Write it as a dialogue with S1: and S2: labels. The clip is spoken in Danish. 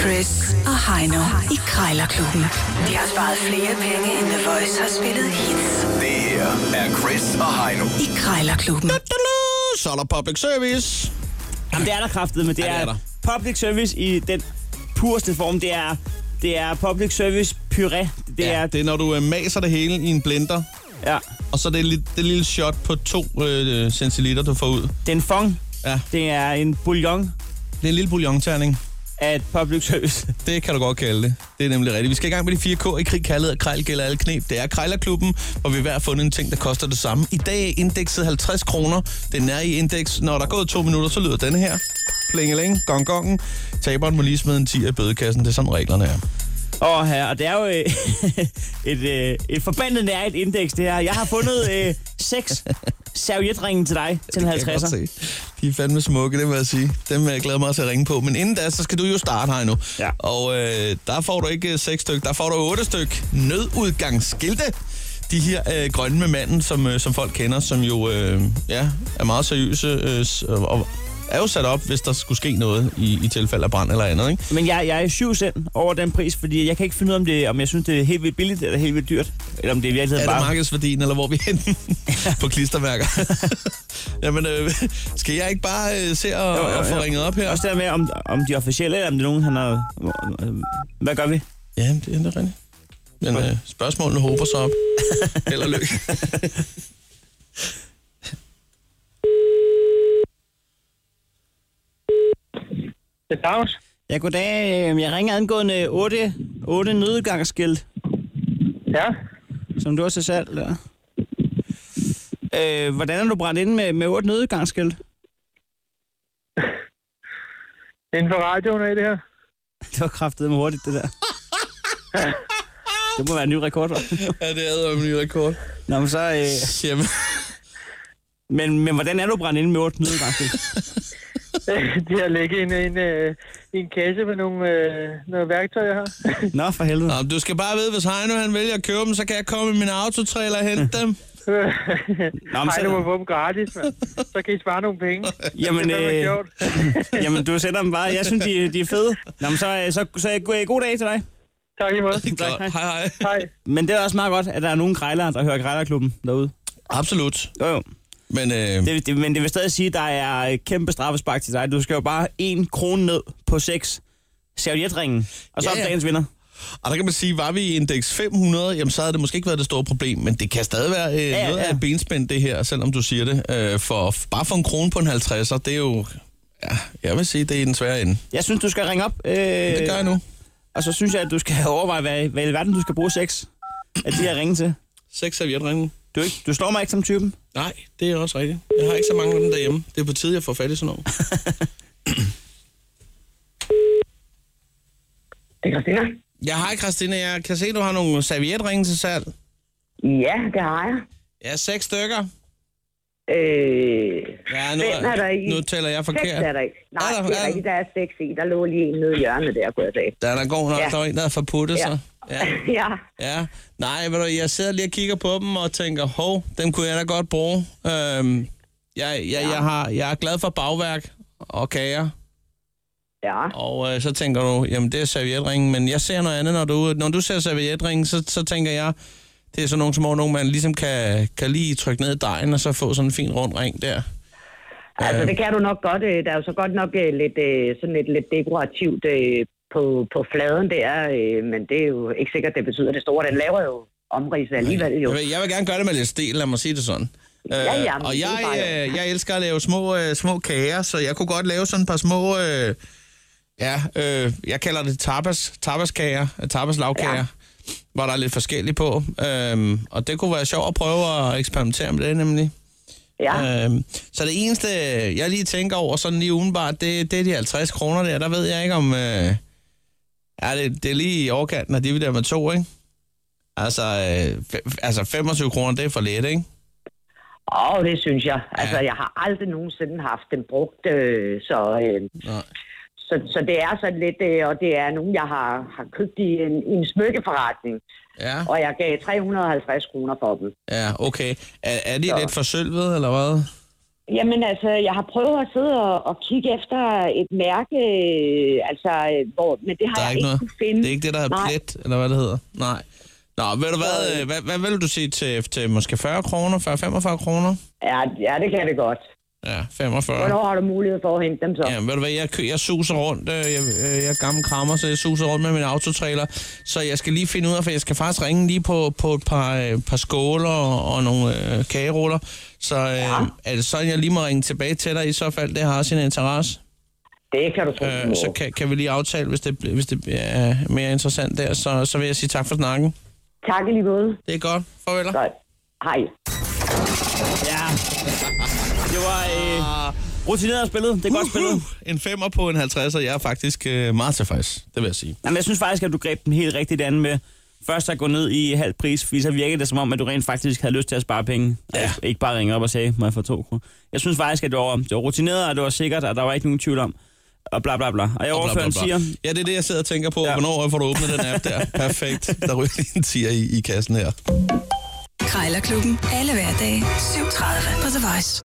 S1: Chris og Heino i Krejlerklubben. De har sparet flere penge, end The Voice har spillet hits
S2: Det her er Chris og Heino.
S1: i Krejlerklubben.
S3: Så er der public service.
S4: Jamen, det er der kraftet, men det,
S3: Ja, det er
S4: er,
S3: der.
S4: public service i den pureste form. Det er, det er public service puré. Det er,
S3: det er, når du øh, maser det hele i en blender,
S4: ja,
S3: og så det, li- det lille shot på 2 øh, centiliter, du får ud.
S4: den fong.
S3: Ja,
S4: Det er en bouillon
S3: det er en lille bouillonterning.
S4: af et public service.
S3: Det kan du godt kalde det. Det er nemlig rigtigt. Vi skal i gang med de fire K i krig, kaldet og krejl gælder alle knep. Det er Krejlerklubben, hvor vi hver har fundet en ting, der koster det samme. I dag er indekset 50 kroner. Den er i indeks. Når der er gået to minutter, så lyder denne her. Plingeling, gong gongen. Taberen må lige smide en 10 i bødekassen. Det er sådan reglerne er.
S4: Åh, her, og det er jo øh, et, øh, et forbandet nært indeks, det her. Jeg har fundet øh, seks servietringen til dig til en
S3: Det kan jeg
S4: 50'er.
S3: godt se. De er fandme smukke, det må jeg sige. Dem øh, glæder jeg mig til at ringe på. Men inden da, så skal du jo starte her nu.
S4: Ja.
S3: Og øh, der får du ikke øh, seks styk, der får du otte styk nødudgangsskilte. De her øh, grønne med manden, som, øh, som folk kender, som jo øh, ja, er meget seriøse øh, s- og- og er jo sat op, hvis der skulle ske noget i, i tilfælde af brand eller andet. Ikke?
S4: Men jeg, jeg er 7 cent over den pris, fordi jeg kan ikke finde ud af, om, det, om jeg synes, det er helt vildt billigt eller helt vildt dyrt. Eller om det i virkeligheden
S3: Er det
S4: bare...
S3: markedsværdien, eller hvor er vi henne på klistermærker? Jamen, øh, skal jeg ikke bare øh, se og,
S4: Jo, jo,
S3: og få
S4: jo.
S3: ringet op her?
S4: Også det der med, om, om de er officielle, eller om det er nogen, han har... Hvad gør vi?
S3: Ja, det er det rigtigt. Men øh, spørgsmålene håber sig op. Held og lykke.
S5: Det er Claus.
S4: Ja, goddag. Øhm, Jeg ringer angående 8, 8 nødgangsskilt,
S5: Ja.
S4: som du har til salg. Der. Øh, hvordan er du brændt inde med, med 8 nødgangsskilt?
S5: Inden for radioen er I det her.
S4: Det var kraftet med hurtigt, det der. Det må være en ny rekord, hva'?
S3: ja, det er en ny rekord.
S4: Nå, men så... Øh,
S3: Jamen,
S4: men, men hvordan er du brændt inde med 8 nødgangsskilt?
S5: De har ligget i en, en, øh, i en kasse med nogle, øh, noget værktøj, jeg har.
S4: Nå, for helvede.
S3: Nå, men du skal bare vide, hvis Heino han vælger at købe dem, så kan jeg komme i min autotrailer og hente dem.
S4: Nå, men
S5: Nej,
S4: så-
S5: du må få dem gratis, mand. Så kan I spare nogle penge.
S4: Jamen,
S5: det er fandme
S4: øh,
S5: sjovt.
S4: Jamen, du sætter dem bare. Jeg synes, de, de er fede. Nå, men så, øh, så, så, så god, god dag til dig.
S5: Tak lige måde.
S3: Godt. Hej, hej.
S5: Hej.
S4: Men det er også meget godt, at der er nogle grejlere, der hører grejlerklubben derude.
S3: Absolut.
S4: Jo, jo.
S3: Men øh,
S4: Det, det, men det vil stadig sige, at der er et kæmpe straffespark til dig. Du skal jo bare en krone ned på seks servietringen, og så
S3: Ja,
S4: ja, ja.
S3: ja.
S4: dagens vinder.
S3: og der kan man sige, var vi i indeks 500, jamen så havde det måske ikke været det store problem, men det kan stadig være øh,
S4: ja,
S3: noget
S4: ja.
S3: af et benspænd det her, selvom du siger det. Øh, for bare for en krone på en 50'er, det er jo... Ja, jeg vil sige, det er i den svære ende.
S4: Jeg synes, du skal ringe op, øh,
S3: Det gør jeg nu.
S4: og så synes jeg, at du skal overveje, hvad, hvad i verden du skal bruge seks af de her ringe til.
S3: Seks servietringen.
S4: Du, er ikke, du slår mig ikke som typen.
S3: Nej, det er også rigtigt. Jeg har ikke så mange af dem derhjemme. Det er på tide, jeg får fat i sådan noget.
S6: Det er Christina.
S3: Jeg har Christina. Jeg kan se, du har nogle servietringe til salg.
S6: Ja, det har jeg.
S3: Ja, seks stykker.
S6: Øh,
S3: Ja,
S6: Fem er der ikke.
S3: nu taler jeg
S6: seks er
S3: forkert.
S6: der ikke. Nej,
S3: Er der-
S6: det
S3: er
S6: er
S3: der?
S6: rigtigt, der er seks i. Der lå lige en nede i hjørnet der, kunne jeg sige.
S3: Der er der god nok,
S6: Ja.
S3: der var en, der har forputtet
S6: Ja.
S3: sig. Ja.
S6: ja,
S3: ja. Nej, ved du, jeg sidder lige og kigger på dem og tænker, hov, dem kunne jeg da godt bruge. Øhm, jeg, jeg, jeg, har, jeg er glad for bagværk og kager.
S6: ja.
S3: Og øh, så tænker du, jamen det er servietringen, men jeg ser noget andet, når du, når du ser servietringen, så, så tænker jeg, det er sådan nogle små nogle, man ligesom kan, kan lige trykke ned i dejen, og så få sådan en fin rund ring der.
S6: Altså, det kan du nok godt. øh, Der er jo så godt nok øh, lidt, øh, sådan lidt, lidt dekorativt øh, på, på fladen der, øh, men det er jo ikke sikkert, det betyder det store. Den laver jo omridset alligevel jo.
S3: Jeg vil, jeg vil gerne gøre det med lidt stil, lad mig sige det sådan.
S6: Ja, ja,
S3: Øh,
S6: men
S3: og
S6: det er
S3: jeg,
S6: jo bare-
S3: øh, jeg elsker at lave små, øh, små kager, så jeg kunne godt lave sådan et par små... Øh, ja, øh, jeg kalder det tapas, tapaskager, øh, tapaslavkager, ja. hvor der er lidt forskelligt på. Øh, og det kunne være sjovt at prøve at eksperimentere med det, nemlig.
S6: Ja,
S3: Øhm, så det eneste, jeg lige tænker over sådan lige udenbart, det, det er de 50 kroner der. Der ved jeg ikke om... Øh, ja, det, det er lige i overkanten af de der med to, ikke? Altså, øh, fe- altså 25 kroner, det er for let, ikke?
S6: og det synes jeg. Altså, jeg har aldrig nogensinde haft den brugt, øh, så... Øh,
S3: Nej.
S6: Så, så det er sådan lidt, øh, og det er nogen, jeg har, har købt i en, i en smykkeforretning,
S3: Ja,
S6: og jeg gav 350 kroner for dem.
S3: ja okay. Er, er de
S6: Så.
S3: lidt for sølvet, eller hvad?
S6: Jamen altså, jeg har prøvet at sidde og, og kigge efter et mærke, øh, altså, øh, hvor, men det har
S3: Der er
S6: jeg
S3: ikke
S6: ikke
S3: noget.
S6: kunnet finde.
S3: Det er ikke det, der hedder
S6: Nej.
S3: plet, eller hvad det hedder. Nej. Nå, ved du hvad, øh, hvad, hvad vil du sige til, til måske 40 kroner, 40-45 kroner?
S6: Ja, ja, det kan det godt.
S3: Ja, 45.
S6: Hvornår har du mulighed for at hente dem så?
S3: Ja, ved du hvad, jeg, kø- jeg suser rundt, øh, jeg, øh, jeg er gammel krammer, så jeg suser rundt med min autotrailer, så jeg skal lige finde ud af, for jeg skal faktisk ringe lige på, på et par, øh, par skåler og, og nogle øh, kageruller, så øh, ja. er det sådan, jeg lige må ringe tilbage til dig i så fald, det har sin interesse?
S6: Det kan du tro.
S3: Øh, så kan, kan vi lige aftale, hvis det, bl- hvis det er mere interessant der, så, så vil jeg sige tak for snakken.
S6: Tak i lige måde.
S3: Det er godt. Farvel.
S6: Godt. Hej.
S4: Ja. Det var øh, rutineret spillet. Det er godt spillet.
S3: En femmer på en 50, og jeg er faktisk øh, meget tilfreds, det vil jeg sige.
S4: Jamen, jeg synes faktisk, at du greb den helt rigtigt an med først at gå ned i halv pris, fordi så virkede det som om, at du rent faktisk havde lyst til at spare penge. Ja. Ikke bare ringe op og sige, må jeg få to kroner. Jeg synes faktisk, at det var, det var rutineret, og det var sikkert, og der var ikke nogen tvivl om. Og bla bla bla. Og jeg overfører siger,
S3: Ja, det er det, jeg sidder og tænker på. Ja.
S4: Ja.
S3: Hvornår får du åbnet den app der? Perfekt. Der ryger lige en tier i, i kassen her.
S1: Krejlerklubben. Alle hverdage. 7.30 på The Voice.